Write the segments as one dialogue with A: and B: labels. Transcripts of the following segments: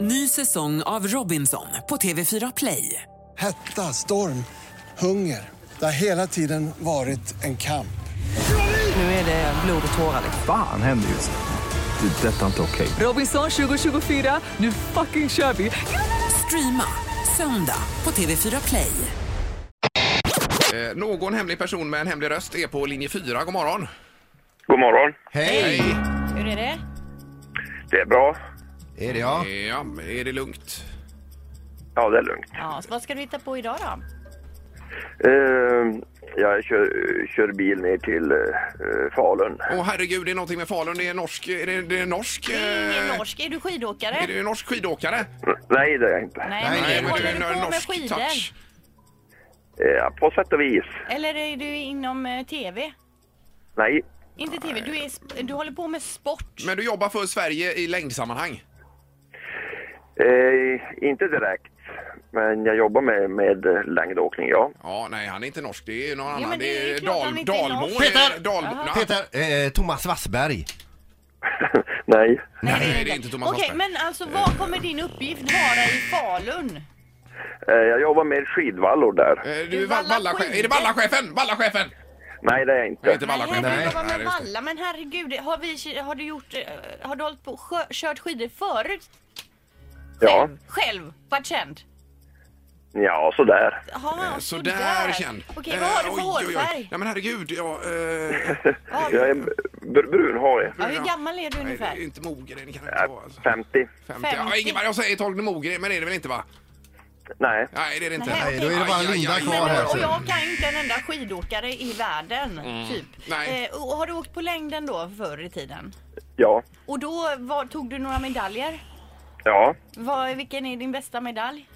A: Ny säsong av Robinson på TV4 Play.
B: Hetta, storm, hunger. Det har hela tiden varit en kamp.
A: Nu är det blod och tårar. liksom.
C: Fan händer just nu. Det. är Detta är inte okej.
A: Robinson 2024, nu fucking kör vi! Streama söndag på TV4 Play.
D: Eh, någon hemlig person med en hemlig röst är på linje 4. God morgon!
E: God morgon.
D: Hej!
F: Hur är det?
E: Det är bra.
G: Är det ja?
D: Ja, är det lugnt?
E: Ja, det är lugnt.
F: Ja, så Alltså, vad ska du hitta på idag då?
E: Eh, jag kör, kör bil ner till eh, Falun.
D: Åh herregud, det är någonting med Falun. Det är norsk... Är det, det är norsk...
F: Det är Ingen
D: eh,
F: norsk. Är du skidåkare?
D: Är det norsk skidåkare?
E: Nej, det är jag inte.
F: Nej, men
G: Nej, men
F: håller
D: det är
F: du på med skidor?
D: touch.
E: Eh, på sätt och vis.
F: Eller är du inom eh, TV?
E: Nej.
F: Inte TV, du, är, sp- du håller på med sport.
D: Men du jobbar för Sverige i längdsammanhang?
E: Eh, inte direkt. Men jag jobbar med, med eh, längdåkning, ja.
D: Ja, nej, han är inte norsk. Det är någon
F: men
D: annan.
F: det är klart han
D: Dal,
F: inte är
D: Dalmål.
F: norsk.
D: eh,
G: Peter!
D: Dalmo- Nej,
G: Peter, eh, Thomas Wassberg.
E: Nej.
D: Nej, det är inte Thomas
F: Okej,
D: Wassberg.
F: men alltså vad kommer din uppgift vara i Falun?
E: Eh, jag jobbar med skidvallor där.
D: Eh, Du
F: Du
D: är Valla-
F: vallar
D: Valla-
F: skidor.
D: är det Vallachefen? Vallachefen!
E: Nej, det är jag
D: Nej,
E: inte.
D: inte
F: Nej,
D: Vallachefen.
F: du jobbar
D: Nej,
F: med
D: just det.
F: valla, men herregud, har, vi, har du gjort, eh, har du hållit på, sjö, kört skidor förut?
E: Ja,
F: Själv? Vart känd?
E: ja sådär.
F: Jaha,
D: Eh, Sådär känd.
F: Okej, vad har du
D: Eh,
F: för
D: oj, oj, oj.
F: hårfärg?
D: Nej men herregud, jag... eh,
F: Vad
E: Jag
F: har du-
E: är br- brunhårig.
F: Ja, hur gammal är du
D: Nej, det
F: ungefär?
D: är inte Mogren kan det inte
E: Eh,
D: vara. alltså.
E: 50.
D: 50. Ja,
F: 50.
D: Ingemar, jag säger Torgny Mogren, men det är det väl inte va?
E: Nej.
D: Nej, det är det inte.
F: Nej,
G: Nej, då är det bara
D: Aj, aj,
G: Linda
D: aj.
G: kvar här.
F: Men, och
G: Så.
F: jag kan ju inte en enda skidåkare i världen,
D: Mm.
F: typ.
D: Nej.
F: Eh, och har du åkt på längden då förr i tiden?
E: Ja.
F: Och då var, tog du några medaljer?
E: Ja.
F: Vad, vilken är din bästa medalj?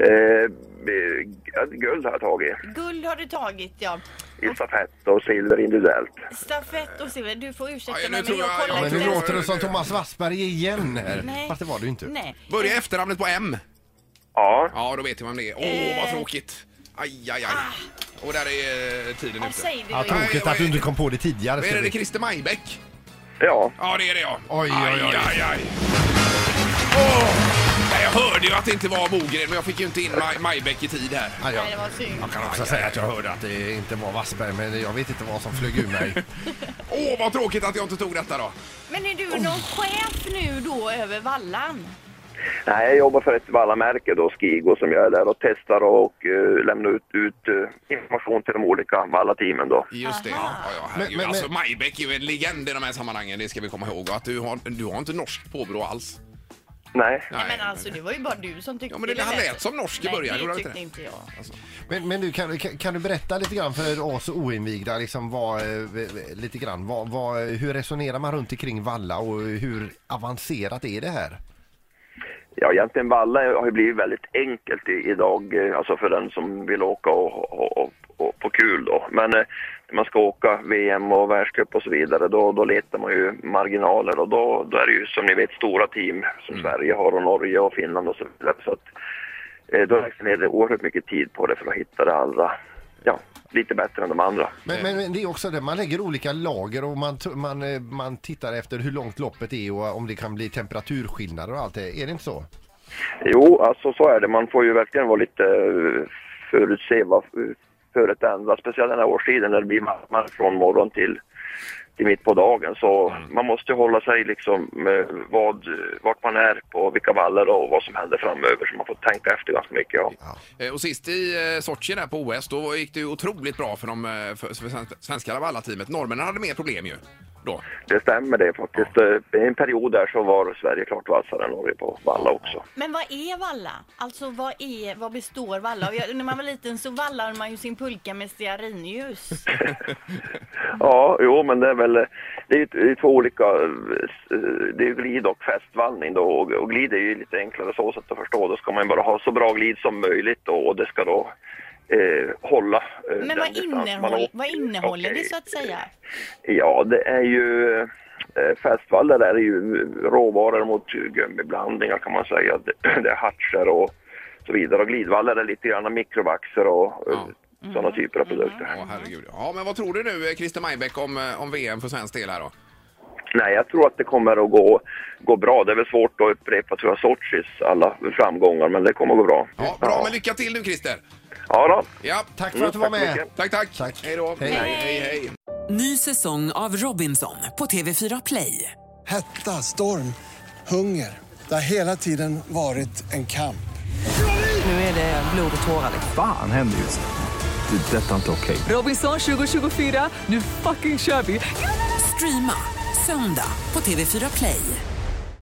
E: Eh, eh, guld har jag tagit.
F: Guld har du tagit, ja.
E: I stafett och silver individuellt.
F: Stafett och silver. Du får ursäkta
D: Aj, nu
F: mig, men
D: tror jag-
F: jag
D: ja,
F: kollar
G: Men
F: inte.
G: nu
D: Nej.
G: låter du som Thomas Wassberg igen här.
F: Nej.
G: Fast det var du inte.
F: Nej.
D: Börja efternamnet på M.
E: Ja.
D: Ja, då vet jag vem det är. Åh, vad tråkigt. Aj, aj, aj. Och där är eh, tiden
F: Ja,
D: ute.
F: säg det
G: Ja,
F: då. Ingmar.
G: tråkigt att du inte kom på det tidigare.
D: Vad Är det, det
G: Fredrik.
D: Christer Majbäck?
E: Ja.
D: Ja, det är det ja.
G: Oj, oj, oj.
D: Aj, aj, aj. Åh! Nej, Jag hörde ju att det inte var Mogren, men jag fick ju inte in Maj- Majbäck i tid här.
G: Ja,
F: Nej, det
G: jag
F: var synd.
G: kan också säga att jag hörde att det inte var Wassberg, men jag vet inte vad som flög ur mig.
D: Åh, vad tråkigt att jag inte tog detta då.
F: Men är du någon chef nu då över vallan?
E: Nej, jag jobbar för ett vallamärke då, Skigo, som jag är där och testar och eh, lämnar ut, ut eh, information till de olika vallateamen då.
D: Just det. Ja,
F: Aha.
D: ja, herregud.
G: Men- men-
D: alltså, Majbäck är ju en legend i de här sammanhangen, det ska vi komma ihåg. Och att du har, du har inte norskt påbrå alls.
E: Nej,
F: Nej, men alltså det var ju bara du som tyckte
D: Ja, men det, han lät som norsk i början.
F: Nej,
D: gjorde
F: det
D: han
F: tyckte
D: det?
F: inte jag.
G: Men, men du, kan, kan kan du berätta lite grann för oss oinvigda, liksom vad, eh, lite grann, vad, vad, hur resonerar man runt omkring Valla och hur avancerat är det här?
E: ja, egentligen valla har ju blivit väldigt enkelt i, idag, eh, alltså för den som vill åka och, och, och, och på kul då. Men eh, när man ska åka VM och världscup och så vidare, då, då letar man ju marginaler och då, då är det ju som ni vet stora team som Sverige har och Norge och Finland och så vidare. Så att, eh, då läggs det ner oerhört mycket tid på det för att hitta det allra, ja, lite bättre än de andra.
G: Men, men, men det är också det, man lägger olika lager och man, t- man, eh, man tittar efter hur långt loppet är och om det kan bli temperaturskillnader och allt det. Är det inte så?
E: Jo, alltså så är det. Man får ju verkligen vara lite eh, förutse vad eh, föret ändras. Speciellt den här årstiden när det blir mammar från morgon till, till mitt på dagen. Så man måste hålla sig liksom med vad, vart man är på vilka vallar och vad som händer framöver. Så man får tänka efter ganska mycket. Ja.
D: Eh, Och sist i eh, Sochi där på OS, då gick det ju otroligt bra för, de, eh, för, för sven- svenska vallateamet. Norrmännen hade mer problem ju. Då.
E: Det stämmer det faktiskt. Eh, I en period där så var Sverige klart vassare än Norge på valla också.
F: Men vad är valla? Alltså vad, är, vad består valla av? Jag, när man var liten så vallade man ju sin pulka med stearinljus.
E: Ja, jo, men det är väl det är, ju- det är två olika, eh, det är ju glid och fästvallning då och, och glid är ju lite enklare så sätt att förstå. Då ska man ju bara ha så bra glid som möjligt då, och det ska då eh, hålla. eh, den
F: Men vad,
E: distans man
F: innehåll,
E: åker.
F: vad innehåller
E: Okej.
F: det så att säga?
E: Ja, det är ju eh, fästvallar där är ju råvaror mot gummiblandningar kan man säga. Det, det är hartser och så vidare och glidvallar är lite grann mikrovaxer och eh, sådana
F: Mm.
E: typer av produkter.
D: Ja, herregud. Ja, men vad tror du nu, eh, Christer Majbäck, om, eh, om VM för svensk del här då?
E: Nej, jag tror att det kommer att gå, gå bra. Det är väl svårt att upprepa tror jag, Sochis alla framgångar, men det kommer att gå bra.
D: Ja, bra, men lycka till nu Christer!
E: Ja, då.
D: Ja,
G: Tack för att du var
E: Mm, tack så
G: med.
E: mycket.
D: tack, tack!
G: Tack.
D: Hej då!
G: Hej.
D: hej, hej!
A: Ny säsong av Robinson på TV4 Play.
B: Hetta, storm, hunger. Det har hela tiden varit en kamp.
A: Nu är det blod och tårar. liksom.
C: Fan händer just nu. Det. är Detta är inte okej.
A: Robinson 2024, nu fucking kör vi! Streama söndag på TV4 Play.